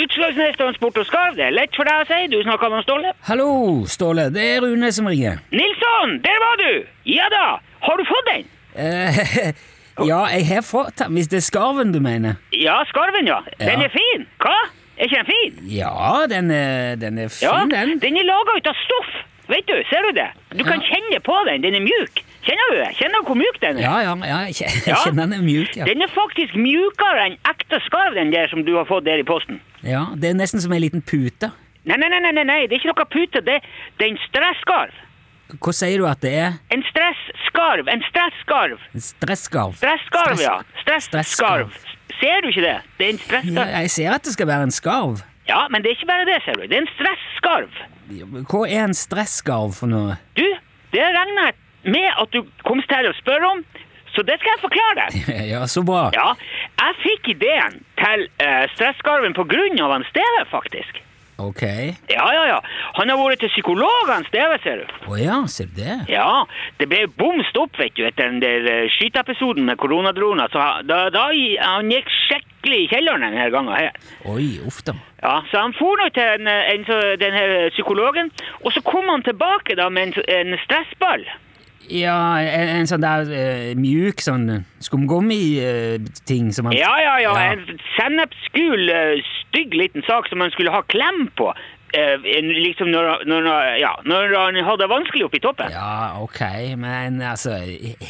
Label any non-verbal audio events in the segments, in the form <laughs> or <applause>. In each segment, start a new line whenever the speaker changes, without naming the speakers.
Utslagsnes Transport og Skarv, det er lett for deg å si. Du snakker med Ståle.
Hallo, Ståle. Det er Rune som ringer.
Nilsson, der var du! Ja da, har du fått den?
Eh, <laughs> ja, jeg har fått den, hvis det er skarven du mener.
Ja, skarven, ja. Den
Ja.
er fin. Hva? Er ikke den fin?
Ja, den er, den er fin,
Ja,
den.
den er laga ut av stoff. Vet du, ser du det? Du kan
Ja.
kjenne på den. Den er mjuk. Kjenner du det? Kjenner du hvor mjuk den er?
Ja, ja, ja jeg kje- jeg
Ja.
kjenner den er mjuk. Ja.
Den er faktisk mjukere enn ekte skarv, den der som du har fått der i posten.
ja, Det er nesten som ei liten pute.
Nei, nei, nei, nei, nei, nei. det er ikke noe pute. Det, det er en stresskarv.
Hva sier du at det er?
En stressskarv. En stressskarv.
En stresskarv?
Stressskarv, ja.
Stress-
Stressskarv. Ser du ikke det? Det er en
Ja,
stressskarv.
jeg ser at det skal være en skarv.
Ja, men det er ikke bare det, ser du. Det er en stressskarv.
Hva er en stressskarv for noe? <laughs>
Du, det regner jeg med at du kom til å spørre om, så det skal jeg forklare deg.
Ja, så bra.
Ja, jeg fikk ideen til uh, stresskarven på grunn av han Steve, faktisk.
Ok.
Ja, ja, ja. Han har vært til psykolog, han Steve, ser du.
Å ja, ser du det?
Ja, det ble bom stopp, vet du, etter den der eh, skyteepisoden med koronadrona, så ha- da, da gi- han gikk skikkelig i kjelleren denne gangen her.
Oi, uff da.
Ja, så han for nå til en, eh, en, så- den her psykologen, og så kom han tilbake da med en, så- en stressball.
Ja, en, en sånn der eh, mjuk sånn skumgummi-ting som man
Ja, ja, ja,
Ja.
en sennepsgul, eh, stygg liten sak som han skulle ha klem på. eh, en- liksom når, når, ja, når han hadde det vanskelig oppe i toppen.
Ja, ok, men altså,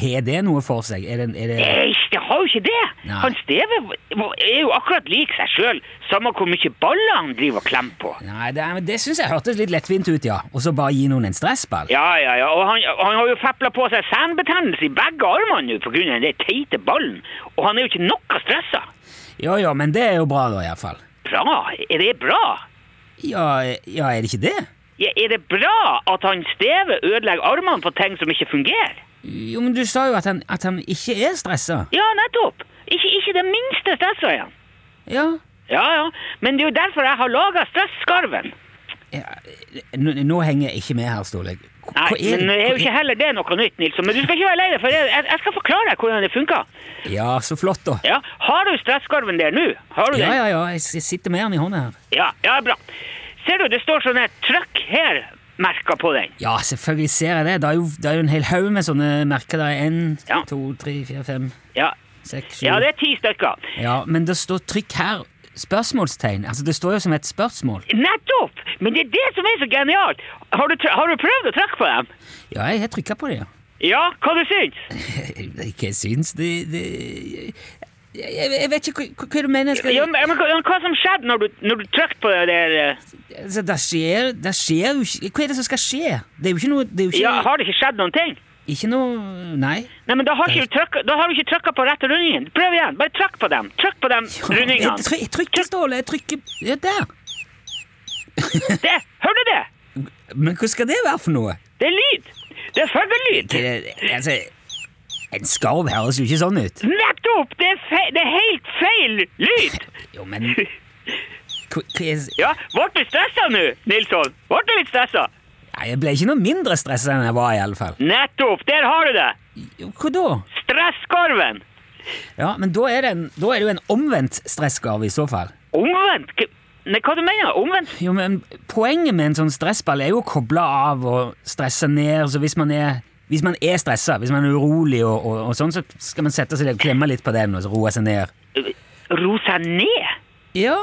har det noe for seg? Er det, er det
Nei, det har jo ikke det!
Nei.
Han Steve var- er jo akkurat lik seg sjøl, samme hvor mye baller han driver og klemmer på.
Nei, det, er- men det syns jeg hørtes litt lettvint ut, ja. Og så bare gi noen en stressball?
Ja, ja, ja, og han, han har jo fepla på seg senbetennelse i begge armene nå pga. den der teite ballen, og han er jo ikke noe stressa.
Jo, jo, men det er jo bra, da, iallfall.
Bra? Er det bra?
Ja, ja, er det ikke det?
Ja, er det bra at han Steve ødelegger armene på ting som ikke fungerer?
Jo, men du sa jo at han, at han ikke er stressa.
Ja, nettopp. Ikke, ikke det minste stressa igjen.
Ja.
Ja, ja. Men det er jo derfor jeg har laga stresskarven.
ja. Nå, nå henger jeg ikke med her, Ståle. Hva-
Nei,
hva er
men det er jo
Hva
ikke heller det noe nytt, Nilsson. Men du skal ikke være lei deg, for jeg, jeg- jeg skal forklare deg hvordan det funker.
Ja, så flott, da.
Ja, Har du stresskarven der nå? Har du
Ja,
den?
ja, ja, jeg s- jeg sitter med han i hånda her.
ja. Ja, bra. Ser du, det står sånne trøkk her merka på den.
Ja, selvfølgelig ser jeg det. Det er jo, det er jo en hel haug med sånne merker. Det er én,
Ja.
to, tre, fire, fem,
Ja.
seks, sju
ja, det er ti stykker.
Ja, men det står trykk her. Spørsmålstegn. Altså, det står jo som et spørsmål.
Nettopp! Men det er det som er så genialt. Har du, tr- har du prøvd å trykke på dem?
Ja, jeg har trykka på det, ja. <laughs>
Ja, hva du syns
Hva syns det, det jeg, jeg jeg vet ikke hva, hva- hva du mener. Skal,
Ja, men, hva- hva som skjedde når du, når du trykte på det der eh,
altså, det, skjer, det skjer jo ikke Hva er det som skal skje? Det er jo ikke noe, det er jo ikke,
Ja, har det ikke skjedd noen ting?
ikke noe Nei.
Nei, men da har, ikke du trykket, da har du ikke trykket på rette rundingen. Prøv igjen. Bare trykk på dem. Trykk på dem
Jeg,
rundingene.
try- jeg trykker, Ståle. Jeg trykker ja, Der.
Det, hører du det?
Men hva skal det være for noe?
Det er lyd. Det er fuglelyd.
Det, altså, en skarv høres jo ikke sånn ut.
Nettopp! Det er, fe, det er helt feil lyd.
Jo,
<laughs>
men hva, hva er,
Ja, ble du stressa nå, Nilsson? Ble du litt stressa?
Nei, Jeg ble ikke noe mindre stressa enn jeg var, iallfall.
Nettopp! Der har du det.
Hva da?
Stresskarven.
Ja, men da er, det en, da er det jo en omvendt stressgarv i så fall.
Omvendt? K- Nei, hva du mener Omvendt?
Jo, men Poenget med en sånn stressball er jo å koble av og stresse ned. Så hvis man er, hvis man er stressa, hvis man er urolig, og, og, og sånn, så skal man sette seg ned og klemme litt på den og så roe seg ned.
Ro seg ned?
Ja,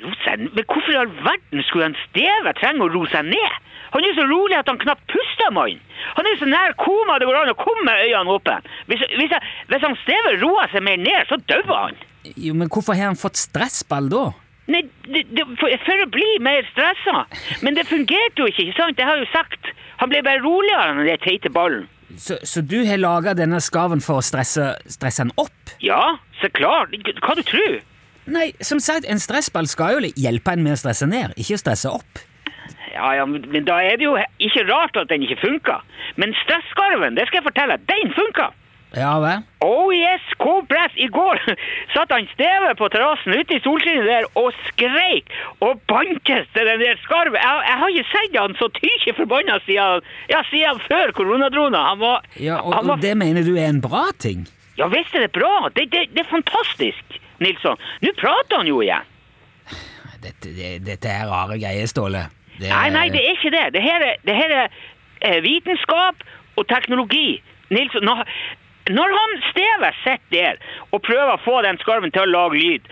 Ro seg ned? Men hvorfor i all verden skulle han Steve trenge å ro seg ned? Han er jo så rolig at han knapt puster, mannen. Han er jo så nær koma det går an å komme med øynene åpne. Hvis, hvis, jeg- hvis han Steve roer seg mer ned, så dauer han.
jo, Men hvorfor har han fått stressball da?
Nei, det, det, for, for å bli mer stressa. Men det fungerte jo ikke, ikke sant? Det har jeg jo sagt. Han ble bare roligere enn den teite ballen.
Så, så du har laga denne skarven for å stresse, stresse den opp?
Ja, så klart. Hva du tror
Nei, som sagt, en stressball skal jo hjelpe en med å stresse ned, ikke å stresse opp.
Ja, ja, men men da er det jo he- ikke rart at den ikke funka. Men stresskarven, det skal jeg fortelle, deg, den funka!
Ja vel?
Oh yes, kompress! I går <laughs> satt han Steve på terrassen ute i solskinnet der og skreik og bantes til den der skarven. Jeg, jeg har ikke sett han så tykje forbanna siden, ja, siden før koronadrona. Han var,
Ja, og,
han var
og det mener du er en bra ting?
Ja visst er det bra! Det, det, det er fantastisk, Nilsson. Nå prater han jo igjen.
Dette, det, dette er rare greier, Ståle. Det er-
Nei, nei, det er ikke det. Det her er, det her er eh, vitenskap og teknologi. Nils, når, når han Steve sitter der og prøver å få den skarven til å lage lyd,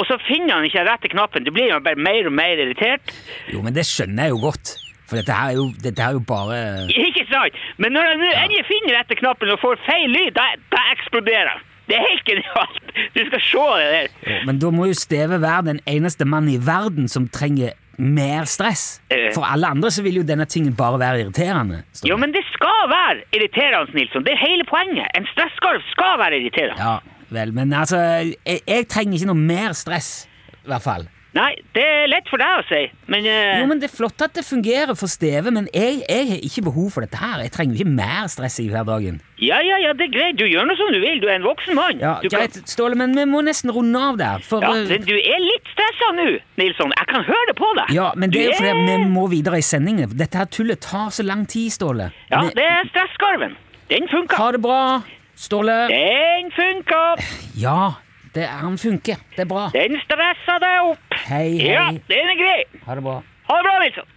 og så finner han ikke rette knappen, det blir jo bare mer og mer irritert. <laughs>
Jo, men det skjønner jeg jo godt. For dette her er jo, dette her er jo bare
Ikke sant? Men når han nå endelig finner rette knappen og får feil lyd, da, da eksploderer han. Det er helt genialt. <laughs> Du skal se det der.
Men da må jo Steve være den eneste mannen i verden som trenger mer stress.
Eh.
For alle andre så vil jo denne tingen bare være irriterende. Ståle.
Jo, men det skal være irriterende, Nilsson. Det er hele poenget. En stressskarv skal være irriterende.
Ja, vel, men altså Jeg, jeg trenger ikke noe mer stress, i hvert fall.
Nei, det er lett for deg å si, men eh,
Jo, men Det er flott at det fungerer for Steve, men jeg, jeg har ikke behov for dette her. Jeg trenger jo ikke mer stress i hverdagen.
Ja, ja, ja, det er greit. Du gjør noe som du vil. Du er en voksen mann.
Ja,
du kan-
greit, Ståle, men vi må nesten runde av der. For,
ja,
eh,
men du er litt stressa nå, Nilsson. Jeg kan høre det på deg.
ja, men det er jo
Du
fordi vi må videre i sendingen. Dette her tullet tar så lang tid, Ståle.
Ja,
Vi-
det er stresskarven. Den funka.
Ha det bra, Ståle.
Den funka.
Ja, det, han funker. Det er bra.
Den stressa deg opp.
Hei,
Ja,
hei.
den er grei.
Ha det bra.
Ha det bra, Nilsson.